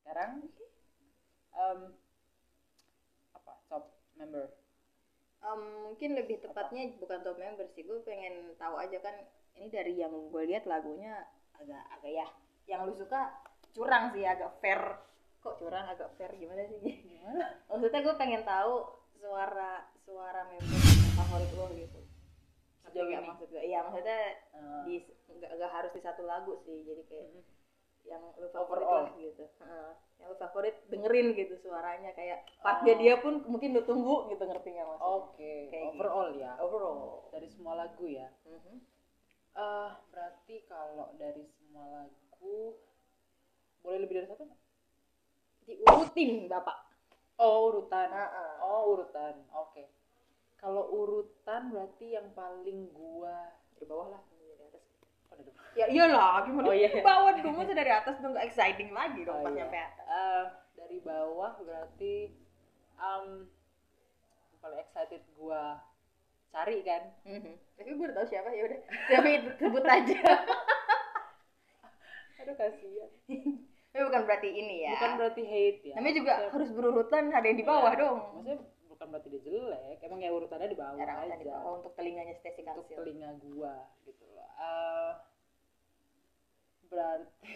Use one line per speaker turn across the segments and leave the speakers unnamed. sekarang em, apa top member
Em, mungkin lebih tepatnya bukan top member sih gue pengen tahu aja kan ini dari yang gue lihat lagunya agak agak ya yang lu suka curang sih agak fair kok curang agak fair gimana sih
gimana
maksudnya gue pengen tahu suara suara member favorit lo gitu Ngerti
Sejauh
nggak
ini?
maksud gue iya maksudnya
Eh,
di nggak nggak harus di satu lagu sih jadi kayak
mm-mm.
yang lu favorit
Overall.
lah gitu Heeh. yang lu favorit dengerin gitu suaranya kayak
Oh.
partnya dia pun mungkin lu tunggu gitu ngerti nggak maksudnya
oke
Kayak
Oh, overall ya
overall
dari semua lagu ya
Mhm.
eh berarti kalau dari semua lagu boleh lebih dari satu nggak?
diurutin bapak
oh urutan
Heeh.
oh urutan oke kalau urutan berarti yang paling gua
dari bawah lah dari atas
oh, dari bawah.
ya iyalah gimana
Oh,
oh,
iya.
bawah dong masa dari atas dong nggak exciting lagi dong
Oh,
pas
iya.
nyampe atas
Eh, dari bawah berarti em yang paling excited gua cari kan
tapi gue udah tahu siapa ya udah tapi sebut aja
aduh kasihan
tapi bukan berarti ini ya
bukan berarti hate ya
namanya juga
Maksudnya-
harus berurutan ada yang di bawah
Iya.
dong
maksudnya bukan berarti dia jelek emang ya urutannya di bawah
cara
aja
di bawah untuk telinganya Stacy
untuk
Kansil
telinga gua gitu loh Eh, berarti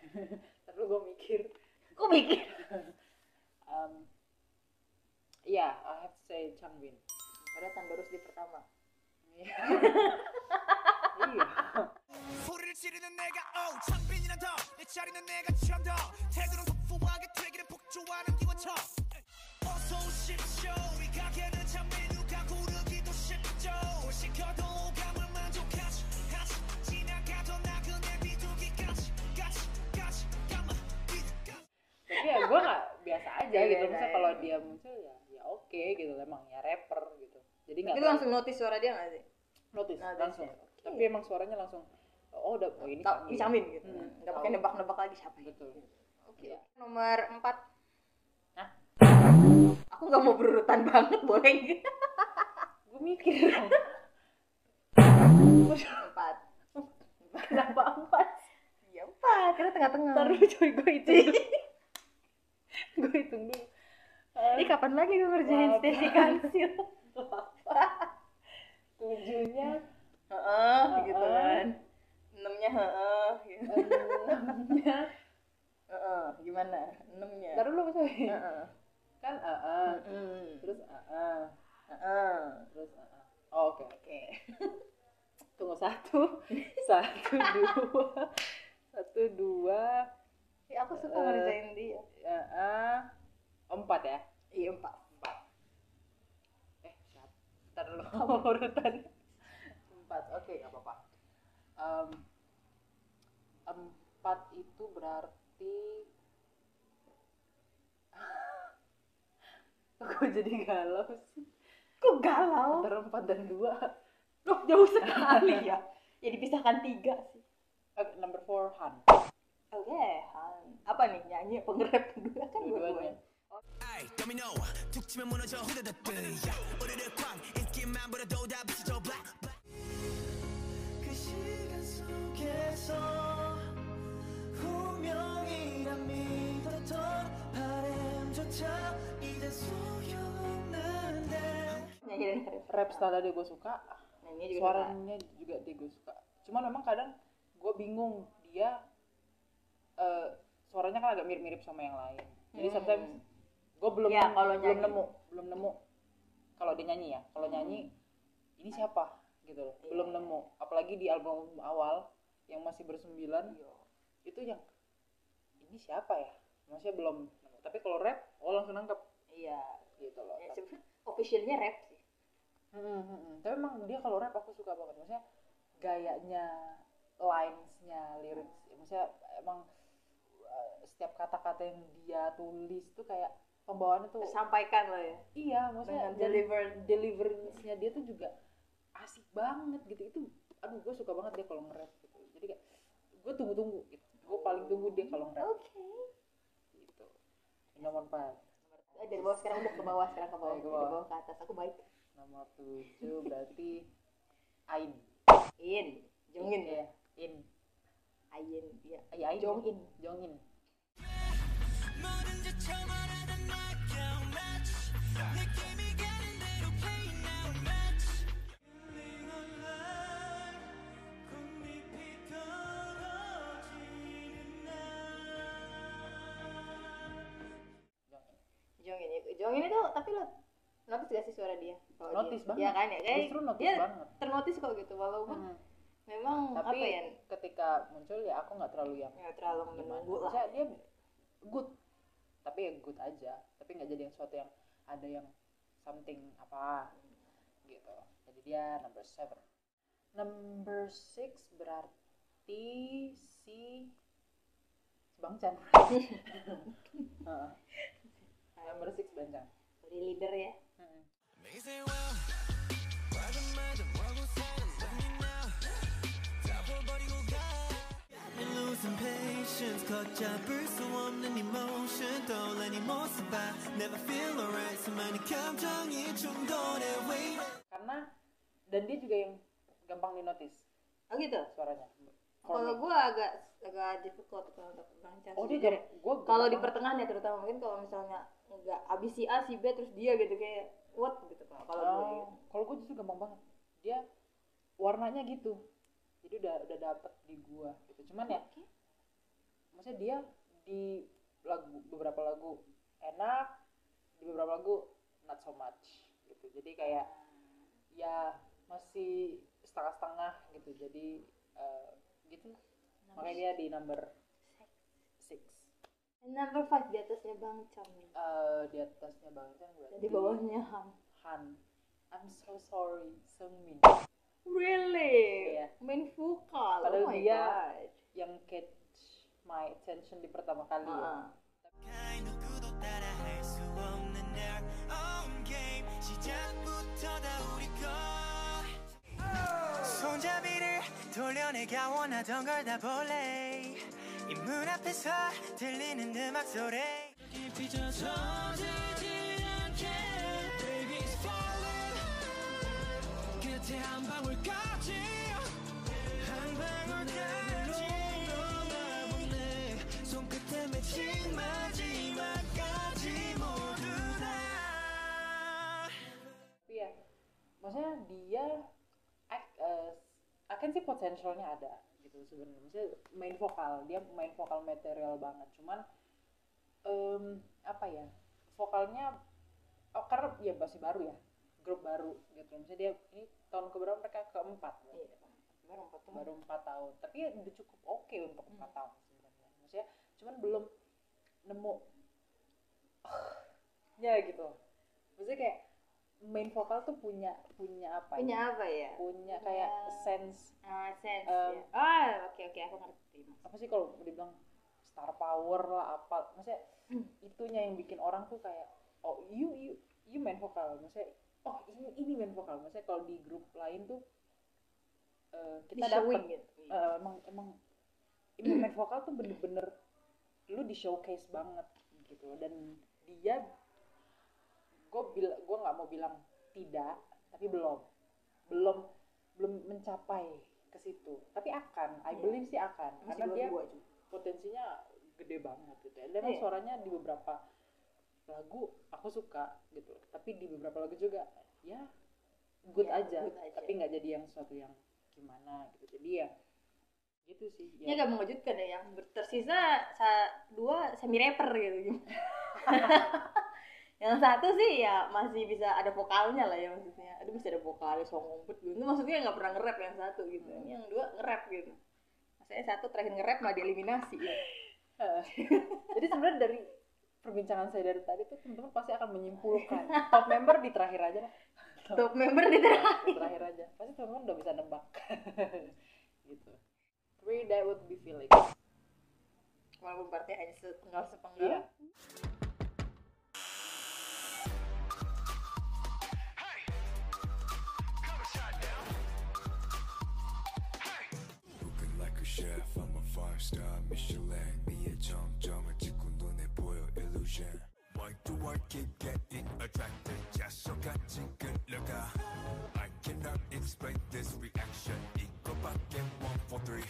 terus gua mikir
kok mikir
Em ya I have to say Changbin
Padahal Tandarus di pertama
iya Iya.
소리를 지르는 내가 oh 창빈이란 더내 자리는 내가 취한다 태도는 소소하게 되기를 폭주하는 기관차 어서 오십시오 이 가게는 참 메뉴가 고르기도 쉽죠 시켜도 오감을 만족하지 하지 지나가던 나그네 비둘기까지 까지 까지 까마 비둘기
tapi ya gue nggak biasa aja
Iya,
gitu
iya,
maksudnya
iya.
kalau dia muncul ya ya oke gitu emang ya rapper gitu jadi nggak
tapi lu langsung notice suara dia nggak sih
notice,
notice,
langsung
ya. Oke.
tapi emang suaranya langsung oh udah oh, ini
Tau,
Changbin.
disamin gitu
Hmm,
nggak
tahu.
pakai nebak-nebak lagi siapa ya.
betul
oke
Iya.
nomor empat
Hah?
aku nggak mau berurutan banget boleh nggak?
gue mikir
empat
kenapa empat
ya empat karena tengah-tengah
Ntar dulu coy gue hitung dulu Gue hitung dulu
ini kapan lagi gue ngerjain
Wah,
Stacy Kansil
Tujuhnya
heeh gitu
Heeh.
kan enamnya heeh gitu.
Enamnya
Heeh, gimana enamnya
Ntar dulu coy
Heeh.
Kan ah ah
Mm-mm.
Terus ah ah
Heeh.
Terus ah ah Oh oke
oke
Tunggu satu Satu dua Satu dua
Ya, aku suka
Eh.
ngerjain dia
ah ah Empat ya
iya empat
Empat Eh siap Ntar dulu urutan Empat oke nggak apa-apa Em, Empat itu berarti Kok jadi galau sih
kok galau
Antara empat dan dua
Loh, jauh sekali ya. Ya dipisahkan tiga sih.
Oke, Number four Han
Oke, Han. apa nih nyanyi pengrep kedua kan
Dua-duanya
dua-duanya.
아이 도미노 툭 치면 무너져 후다다뜨 오르르 쾅 인기만 불어도 다 비춰져 black 그 시간 속에서 운명이란 믿었던 바램조차 이제 소용없는데
Nyanyi dan rap.
Rap style dia gue suka
Nah, ini juga suara.
Suaranya juga dia gue suka Cuman memang kadang gue bingung Dia eh, Suaranya kan agak mirip-mirip sama yang lain Jadi
Hmm.
sometimes gue belum
Iya, kalau
belum
nyanyi. Hmm.
nemu belum nemu kalau dia nyanyi ya kalau nyanyi ini siapa gitu loh
Iya.
belum nemu apalagi di album awal yang masih bersembilan
Iya.
itu yang ini siapa ya maksudnya belum nemu. tapi kalau rap oh langsung nangkep
Iya.
gitu loh
Ya,
tapi,
sebenarnya officialnya rap sih.
Mm, mm, mm. Tapi emang dia kalau rap aku suka banget maksudnya gayanya lines-nya lyrics maksudnya emang uh, setiap kata-kata yang dia tulis tuh kayak pembawaannya tuh
Sampaikan loh ya.
iya maksudnya
Dengan
deli-
deliver
deliverance-nya dia tuh juga asik banget gitu itu aduh gue suka banget dia kalau nge-rap gitu jadi kayak gue tunggu-tunggu gitu gue paling tunggu dia kalau nge-rap
Oke.
gitu nomor empat
Eh, Dari bawah sekarang udah ke bawah sekarang ke bawah,
Ayo, ke
ke
bawah.
dari bawah ke atas. Aku baik.
nomor tujuh berarti Ain
In,
Iya.
Jongin ya.
ya In
Ain, iya.
Ay, Ain
Jongin.
Jongin
뭐든지 처음 알아던 날겨 match 느낌이 가는 대로 play now match Feeling alive 꽃잎이 떨어지는 날
Jongin ya. Jongin itu tapi lo notice gak sih suara dia? Kalau dia-
Notice banget.
Ya kan ya kan.
Justru notice
dia
banget.
ternotis kok gitu walaupun
Hmm.
memang
Tapi
apa ya?
ketika muncul ya aku nggak terlalu yang
nggak terlalu
gimana.
menunggu lah.
Maksudnya dia good, tapi ya good aja. Tapi nggak jadi yang suatu yang ada yang something apa gitu. Jadi dia number seven. Number six berarti si Bang Chan. Heeh. number six Bang Chan. Hmm.
Jadi leader ya.
Heeh.
They say well 과정마저 멀고 사는 love me now 다 버리고 가 I'm losing patience 걷잡을 수 없는 emotion 떠올라니 모습 봐 Never feel alright 수많은 감정이 충돌해 wait
Karena dan dia juga yang gampang di notice
Oh gitu.
suaranya. For me.
Kalau gue agak agak difficult kalau untuk Bang Chan
oh dia
sendiri.
gam- gua
kalau di
gampang-
pertengahan ya terutama mungkin kalau misalnya nggak abis si A si B terus dia gitu kayak what gitu kalau kalau gue
Oh, kalau gue justru gampang banget. Dia warnanya gitu. Jadi udah udah dapet di gua gitu. Cuman ya, maksudnya dia di lagu beberapa lagu enak, di beberapa lagu not so much gitu. Jadi kayak ya masih setengah-setengah gitu. Jadi eh, gitu. Makanya dia di number six.
number five di atasnya Bang Chan
Eh, di atasnya banget kan berarti
di bawahnya Ham
Han. I'm so sorry, Seungmin.
really
Iya.
main vokal
Padahal
oh my
dia-
god
yang catch my attention di pertama kali ya.
Ah.
가히 누구도 따라할 수 없는 their own game 시작부터 다 우리 것 손잡이를 돌려내가 원하던 걸 다 볼래 이 문 앞에서 들리는 음악 소리 깊이 젖어지지 않게 Baby's falling 끝에 한 방울까지 한 방울까지 떠나보네 손끝에 맺힌 마지막까지 모두 다
tapi ya maksudnya dia act, eh, akan sih potensialnya ada gitu sebenarnya maksudnya main vokal dia main vokal material banget cuman em, apa ya vokalnya oh, karena ya masih baru ya grup baru gitu maksudnya dia ini tahun keberapa mereka keempat
Iya. Baru empat tahun.
baru empat tahun tapi ya udah cukup oke untuk empat
Hmm.
tahun sebenarnya maksudnya cuman belum nemu ya gitu maksudnya kayak main vokal tuh punya punya apa
punya
ya?
apa ya
punya kayak
punya-
sense
ah sense
Um,
ya. ah oke oke aku ngerti
apa sih kalau dibilang star power lah apa maksudnya
Hmm.
itunya yang bikin orang tuh kayak oh you you you main vokal maksudnya oh ini ini main vokal maksudnya kalau di grup lain tuh eh, kita
Di showing
dapat
gitu Iya. Hmm.
Eh, emang emang ini main vokal tuh bener-bener lu di showcase banget gitu dan dia gue bila gue nggak mau bilang tidak tapi belum belum belum mencapai ke situ tapi akan I
Iya.
believe sih akan
Masih
karena dia
dua-dua juga.
potensinya gede banget gitu ya. dan emang
Iya.
suaranya di beberapa lagu aku suka gitu tapi di beberapa lagu juga ya good,
Ya,
aja,
good aja.
tapi nggak jadi yang suatu yang gimana gitu jadi ya gitu sih
ini agak mengejutkan ya yang ber- tersisa sa- dua semi rapper gitu yang satu sih ya masih bisa ada vokalnya lah ya maksudnya aduh bisa ada vokalnya song ngumpet gitu itu maksudnya nggak pernah nge-rap yang satu gitu
Hmm.
ini yang dua nge-rap gitu maksudnya satu terakhir nge-rap malah dieliminasi ya
Heeh. jadi sebenarnya dari perbincangan saya dari tadi tuh teman-teman pasti akan menyimpulkan top member di terakhir aja lah
top member di terakhir
di terakhir aja pasti teman-teman udah bisa nebak gitu three that would be Felix
walaupun partnya hanya setengah sepenggal
iya
Cooking like a chef, I'm a five star Michelin. Be a jump, jump, a chicken, don't boil illusion. Why do I keep getting attracted? Just so got chicken, look out. I cannot explain this reaction. Equal bucket, one for three.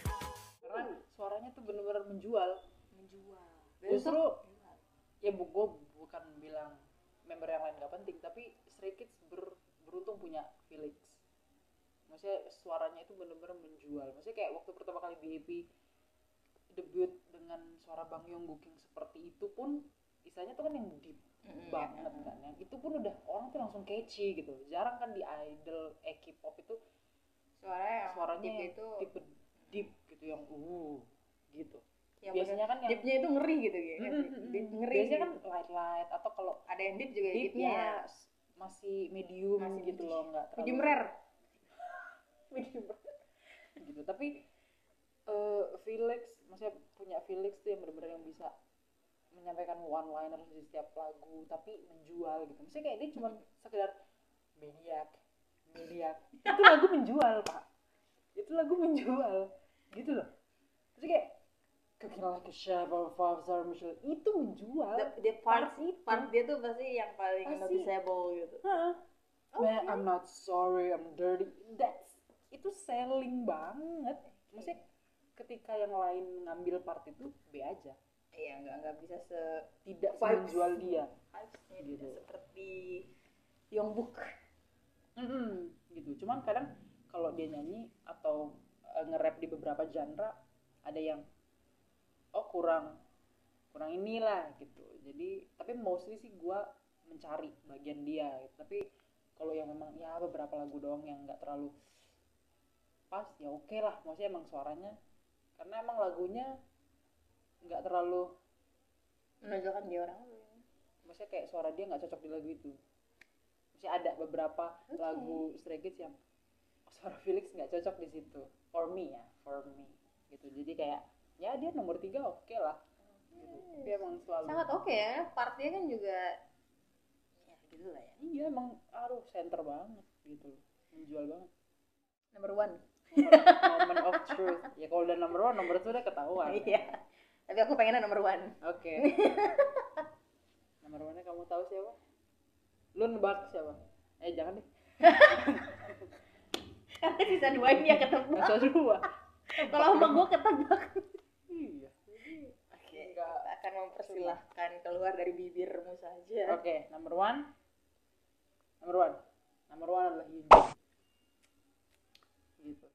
karena suaranya tuh bener-bener menjual
menjual
justru ya bu gue bukan bilang member yang lain gak penting tapi Stray Kids ber- beruntung punya Felix maksudnya suaranya itu bener-bener menjual maksudnya kayak waktu pertama kali BAP debut dengan suara Bang Yongguking seperti itu pun isanya tuh kan yang deep
Mm-mm,
banget
mm-mm.
kan yang itu pun udah orang tuh langsung catchy gitu jarang kan di idol eh K-pop itu
suara yang
suaranya
deep
yang
Iya, itu
tipe deep gitu yang uh gitu
yang
biasanya kan yang
deepnya itu ngeri gitu ya Deep,
Mm-mm-mm.
ngeri
biasanya kan
gitu.
light light atau kalau
ada yang deep juga ya,
deep
deepnya ya
ya masih medium
Masih
gitu
medium.
loh nggak terlalu
medium rare
medium rare. gitu tapi eh, Felix maksudnya punya Felix tuh yang benar-benar yang bisa menyampaikan one liner di setiap lagu tapi menjual gitu maksudnya kayak dia cuma sekedar maniak maniak itu lagu menjual pak itu lagu menjual gitu loh terus kayak Cooking like a chef or five star Michelin itu menjual
the, Oh, the part,
Part itu.
part dia tuh pasti yang paling
Pasti.
noticeable gitu
Hah?
Oh,
Man, I'm not sorry, I'm dirty. That's itu selling banget. Maksudnya ketika yang lain ngambil part itu B aja,
iya nggak nggak bisa se
tidak
Vibes.
menjual dia.
vibesnya
Gitu.
tidak seperti Yongbuk
Mm-mm, gitu. Cuman kadang kalau dia nyanyi atau eh, nge-rap di beberapa genre ada yang oh kurang kurang inilah gitu. Jadi tapi mostly sih gua mencari bagian dia gitu. Tapi kalau yang memang ya beberapa lagu doang yang nggak terlalu pas ya oke lah maksudnya emang suaranya karena emang lagunya nggak terlalu
menonjolkan dia orang
maksudnya kayak suara dia nggak cocok di lagu itu maksudnya ada beberapa lagu Stray Kids yang suara Felix nggak cocok di situ for me ya for me gitu jadi kayak ya dia nomor tiga oke lah gitu. dia emang selalu
Hmm. Iya. sangat oke ya part dia kan juga ya gitu lah ya
iya emang aduh center banget gitu menjual banget
number one
moment of truth ya kalau udah nomor one nomor itu udah ketahuan ya.
iya tapi aku pengennya number one
oke nomor one kamu tahu siapa lu nebak siapa eh jangan deh
karena sisa dua ini yang ketebak
Masa dua
kalau sama gue ketebak
iya
oke
Nggak.
kita akan mempersilahkan keluar dari bibirmu saja
Oke, number one. Number one. Number one adalah Hyun. Gitu.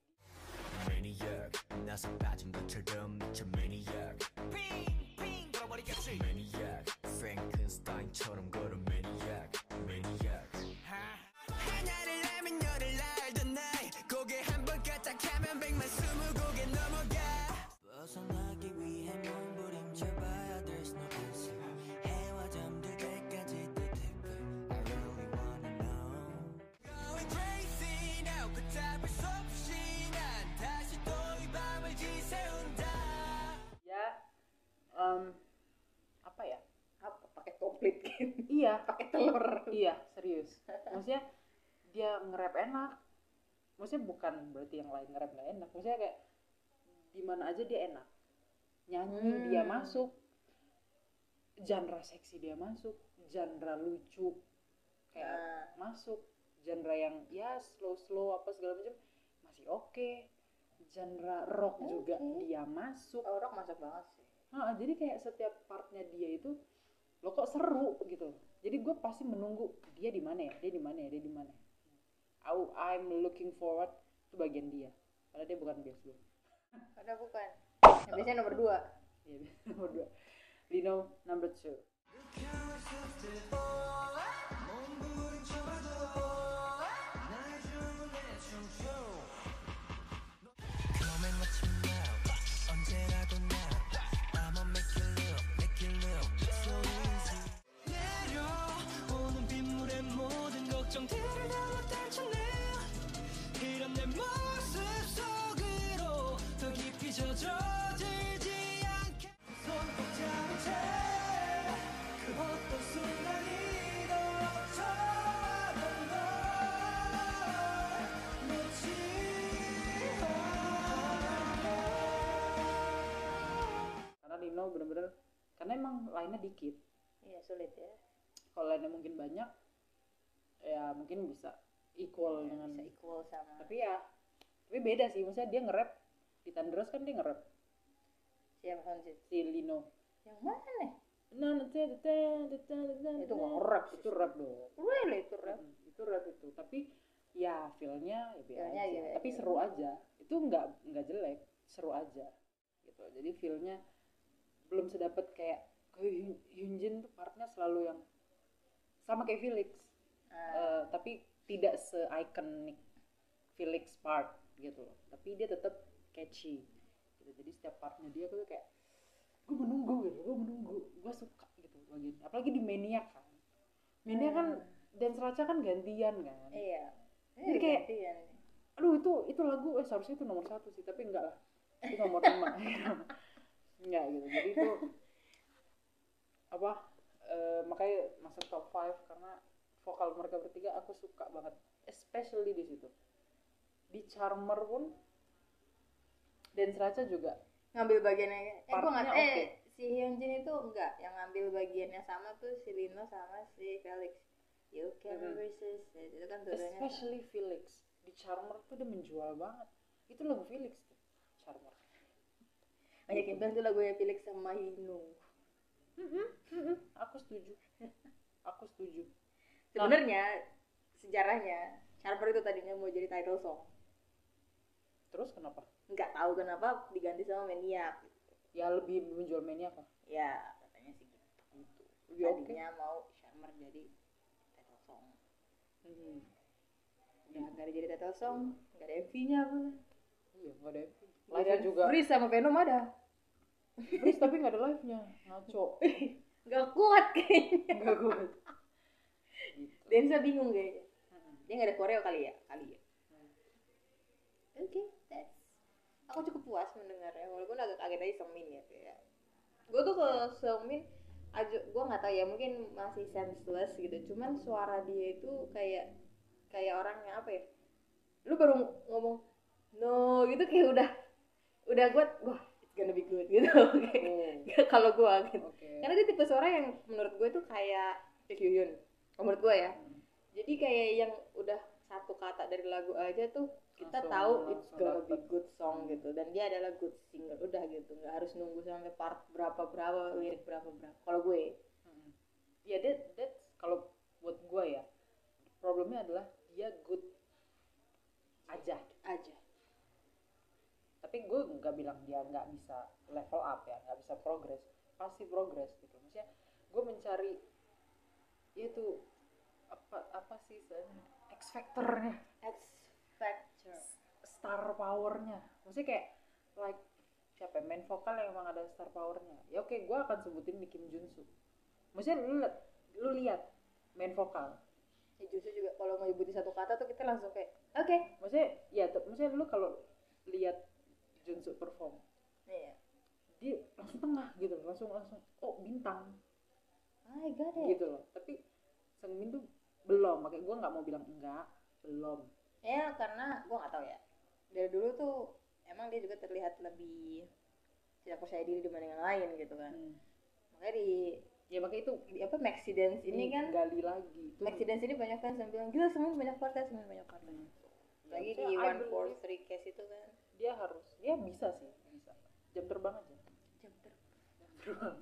Maniac 나서 빠진 것처럼 미쳐 Maniac 빙빙 돌아버리겠지 Maniac 프랭켄스타인처럼 걸어 Maniac Maniac 하나를 알면 열을 알던 날 고개 한번 까딱하면 백만 스무 고개 넘어가 벗어나기 위해 몸부림쳐봐야 there's no answer 해와 잠들 때까지 detective I really wanna know Going crazy now 그 답을 수 없이 난 다시 또 이 밤을 지새운다
Ya. em, apa ya?
apa pakai komplit gitu
Iya,
pakai telur
iya, serius. Maksudnya dia nge-rap enak. Maksudnya bukan berarti yang lain nge-rap gak enak. Maksudnya kayak di mana aja dia enak. Nyanyi dia
Hmm.
masuk. Genre seksi dia masuk, genre lucu kayak
Nah,
masuk genre yang ya slow slow apa segala macam masih oke genre rock
Oke.
juga dia masuk
orang masuk banget sih
Ah, jadi kayak setiap partnya dia itu lo kok seru gitu jadi gue pasti menunggu dia di mana ya dia di mana ya dia di mana ya? Au- I'm looking forward itu bagian dia padahal dia bukan bias gue
ada bukan Yang biasanya nomor dua
Iya, nomor dua Lino number two
내려오는 빗물에 모든 걱정들을 날로 떨쳐내 이런 내 모습 속으로 더 깊이 젖어들지 않게 손꼭 잡은 채그 어떤 순간이 더 처음 걸 놓지
karena Lino bener-bener karena emang lainnya dikit
iya sulit ya
kalau lainnya mungkin banyak ya mungkin bisa equal dengan
Ya, bisa equal sama
Oh, tapi ya tapi beda sih maksudnya dia nge-rap di Thunderous kan dia nge-rap
siapa sih
si Lino
yang mana
itu nggak rap sih, itu rap dong
Really itu rap.
Mm, itu rap itu tapi ya feelnya ya biasa
Feel-nya ya,
tapi
ya.
seru aja itu nggak nggak jelek seru aja gitu jadi feelnya belum sedapat kayak kayak Hyun- Hyunjin tuh partnya selalu yang sama kayak Felix Eh, tapi tidak se ikonik Felix part gitu loh tapi dia tetap catchy gitu. jadi setiap partnya dia tuh kayak gue menunggu gitu gue menunggu gue suka gitu bagian apalagi di Maniac kan Maniac kan dance raca kan gantian kan
Hmm. Iya.
Jadi kayak- aduh itu itu lagu eh seharusnya itu nomor satu sih tapi enggak lah itu nomor lima enggak gitu jadi itu apa eh, makanya masuk top 5 karena vokal mereka bertiga aku suka banget especially di situ di Charmer pun dan Raca juga
ngambil bagiannya eh gua nggak
Partnya
eh
oke.
si Hyunjin itu enggak yang ngambil bagiannya sama tuh si Lino sama si Felix you can
Mhm.
resist itu kan dua-duanya
especially Felix di Charmer tuh dia menjual banget itu lagu Felix tuh Charmer
banyak yang bilang tuh lagunya Felix sama Hino
aku setuju aku setuju
sebenarnya sejarahnya Sharper itu tadinya mau jadi title song
terus kenapa
nggak tahu kenapa diganti sama Maniac
ya lebih menjual mainnya apa
ya katanya sih gitu
lebih Ya, oke
tadinya mau Sharper jadi title song
Hmm.
ya nggak ada jadi title song nggak ada MV-nya apa
iya nggak ada MV live juga
Freeze sama Venom ada
freeze tapi nggak ada live nya ngaco
nggak kuat kayaknya
nggak gue gitu.
Densa bingung kayaknya.
Mm-mm.
Dia nggak ada koreo kali ya? Kali ya. Oke, that's. Aku cukup puas mendengarnya. Walaupun agak kaget aja Seungmin ya kayak. Gue tuh ke Seungmin aja gue nggak tahu ya mungkin masih senseless gitu. Cuman suara dia itu kayak kayak orangnya apa ya? Lu baru ngomong no gitu kayak udah udah gue wah it's gonna be good gitu. Kayak Kalau gue gitu
Oh, oke
karena dia tipe suara yang menurut gue tuh kayak Lee Hyun menurut gue ya jadi kayak yang udah satu kata dari lagu aja tuh kita
Langsung-
tahu it's
langsung
gonna be
dapet.
good song gitu dan dia adalah good singer udah gitu nggak harus nunggu sampai part berapa berapa lirik berapa berapa kalau gue
Mm-mm. ya that that's kalau buat gue ya problemnya adalah dia good aja
aja
tapi gue nggak bilang dia nggak bisa level up ya nggak bisa progress pasti progress gitu maksudnya gue mencari itu apa apa sih istilahnya? X factornya
X Factor
star powernya maksudnya kayak like siapa ya, main vokal yang emang ada star powernya ya oke gue akan sebutin di Kim Junsu maksudnya lu liat, lu lihat main vokal
ya justru juga kalau nyebutin satu kata tuh kita langsung kayak oke
maksudnya ya te- maksudnya lu kalau lihat Junsu perform
Iya.
dia langsung tengah gitu loh, langsung langsung oh bintang
I got it
gitu loh tapi Sungmin tuh belum makanya gue nggak mau bilang enggak belum
ya karena gue nggak tahu ya dari dulu tuh emang dia juga terlihat lebih tidak percaya diri dibanding yang lain gitu kan makanya di,
ya makanya itu
di apa Maxidance
Iya,
ini kan
gali lagi itu
Maxidance ini banyak fans yang bilang gila semuanya banyak partai semuanya banyak partai lagi di
Iya. Ya, maksudnya I
one
believe.
four three case itu kan
dia harus dia bisa sih bisa jam terbang aja
jam terbang
jam terbang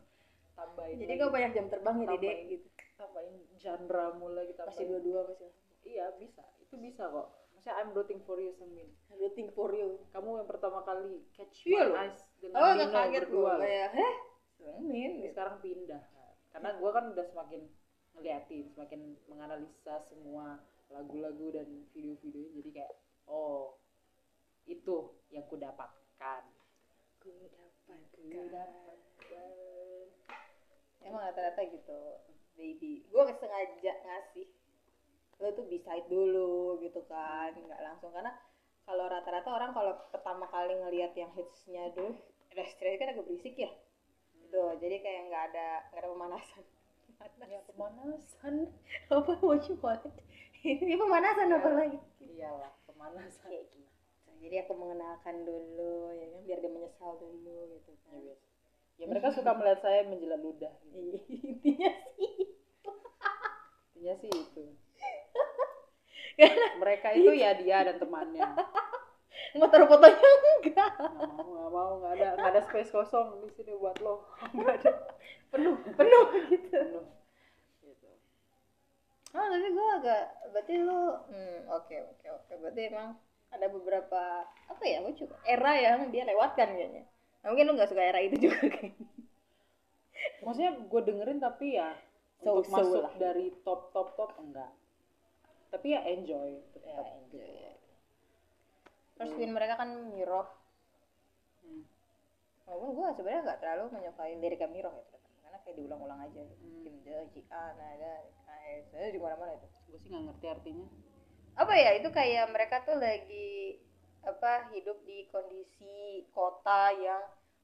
tambahin
jadi
lagi,
kau banyak jam terbang ya dede
Tambahin.
gitu
tambahin genre mulai kita
masih dua dua masih
iya bisa itu bisa kok maksudnya I'm rooting for you Semin
rooting for you
kamu yang pertama kali catch
Iya
my
loh.
eyes dengan
oh
Dino
nggak kaget
berdua
gua
loh.
kayak heh gitu. Semin
Ini sekarang pindah karena gue kan udah semakin ngeliatin semakin menganalisa semua lagu-lagu dan video-videonya jadi kayak oh itu yang ku dapatkan
gue dapat
Ku dapatkan.
emang rata-rata gitu baby gue sengaja ngasih lo tuh beside dulu gitu kan nggak langsung karena kalau rata-rata orang kalau pertama kali ngelihat yang hitsnya dulu restrikasi kan agak berisik ya gitu jadi kayak nggak ada nggak ada pemanasan
ya pemanasan
apa what you want ini pemanasan apa lagi
iyalah pemanasan
kayak gitu jadi aku mengenalkan dulu ya kan biar dia menyesal dulu gitu
Ya,
kan
biasa. ya mereka suka melihat saya menjilat ludah gitu.
Iya, intinya sih
intinya sih itu mereka itu ya dia dan temannya
mau taruh fotonya enggak
nggak mau nggak mau nggak ada nggak ada ada space kosong di sini buat lo nggak ada
penuh penuh gitu
penuh gitu
ah tapi gue agak berarti lu hmm, oke oke oke berarti emang ada beberapa apa ya gue juga era yang dia lewatkan kayaknya nah, mungkin lu nggak suka era itu juga kayaknya
maksudnya gue dengerin tapi ya
So-
untuk
so
masuk
lah.
dari top top top enggak tapi ya enjoy
ya,
tetap
enjoy, ya. terus pin mereka kan miroh
Hmm.
walaupun gue sebenarnya nggak terlalu menyukai liriknya miroh ya ternyata. karena kayak diulang-ulang aja gitu
Hmm.
Kim Do, Ji An, ada AS, ada di mana-mana itu
gue sih nggak ngerti artinya
apa ya itu kayak mereka tuh lagi apa hidup di kondisi kota yang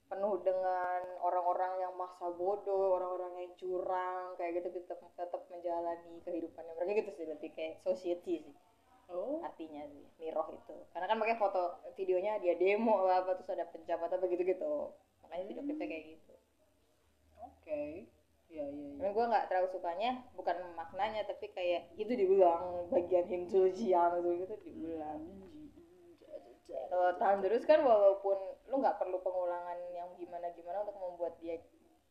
penuh dengan orang-orang yang masa bodoh, orang-orang yang curang, kayak gitu tetap tetap menjalani kehidupannya mereka gitu sih berarti kayak society sih
oh
artinya sih miroh itu karena kan pakai foto videonya dia demo lah apa terus ada penjabat apa gitu gitu makanya video klipnya kayak gitu
oke ya ya ya
Cuman gue nggak terlalu sukanya bukan maknanya tapi kayak itu dibilang bagian Hindu Jiang itu gitu dibilang Kalau tahan terus kan walaupun lu nggak perlu pengulangan yang gimana gimana untuk membuat dia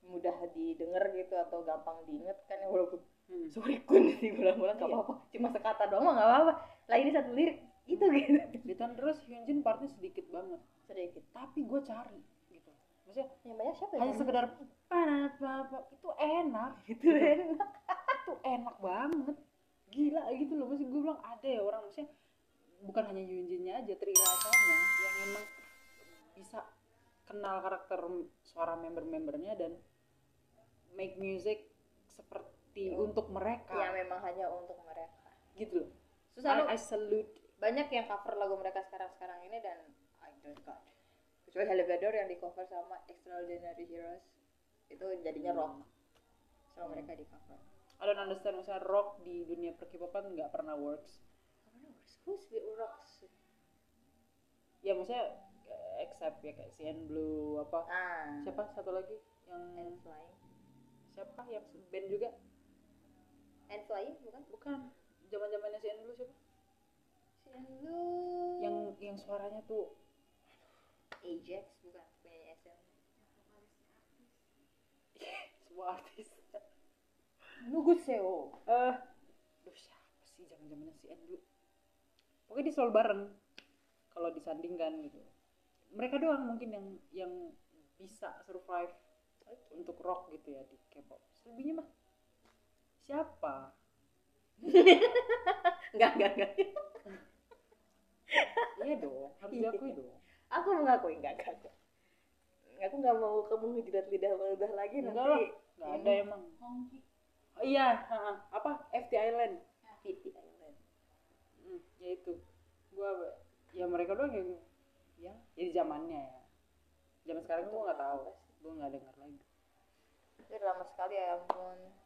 mudah didengar gitu atau gampang diinget kan ya walaupun
Hmm.
sorry kun diulang-ulang nggak apa-apa cuma sekata doang mah nggak apa-apa lah ini satu lirik itu gitu
di tahun terus Hyunjin partnya sedikit banget
sedikit
tapi gue cari gitu maksudnya
yang banyak siapa ya
hanya sekedar "Para, pa, pa," itu enak
gitu enak
itu enak banget gila gitu loh maksud gue bilang ada ya orang maksudnya bukan hanya Yunjinnya aja Tri Rasanya yang emang bisa kenal karakter suara member-membernya dan make music seperti
Oh.
untuk
ya
mereka
memang hanya untuk mereka
gitu loh
susah lu
I, I salute
banyak yang cover lagu mereka sekarang-sekarang ini dan I don't got kecuali Halle Berry yang di cover sama Extraordinary Heroes itu jadinya rock sama mereka di cover
I don't understand maksudnya rock di dunia perkipopan nggak pernah works
Who's the Urox?
ya maksudnya eh, except ya kayak CN Blue apa
Ah,
siapa satu lagi yang
And Flying.
siapa yang band juga
And Flying bukan?
bukan zaman zamannya CN Blue siapa
Si Lu.
yang yang suaranya tuh
Ajax bukan punya SM.
sebuah artis eh
Nugu Seo.
aduh, siapa sih zaman zamannya si Andrew pokoknya di selalu bareng kalau disandingkan gitu mereka doang mungkin yang yang bisa survive untuk rock gitu ya di K-pop selebihnya mah siapa
Enggak, enggak, enggak.
iya dong harus
Iya.
diakui dong
Aku mengakui enggak, enggak. enggak. Aku enggak mau kamu ngejilat lidah ludah lagi
Enggak
Iya, nanti. Iya.
lah. nggak ada emang oh, iya ha, ha. apa FT Island
Piti Island.
Hmm, ya itu gua ya mereka doang yang ya jadi zamannya ya zaman sekarang gua nggak tahu gua nggak dengar lagi
Itu lama sekali ya ampun.
Gitu.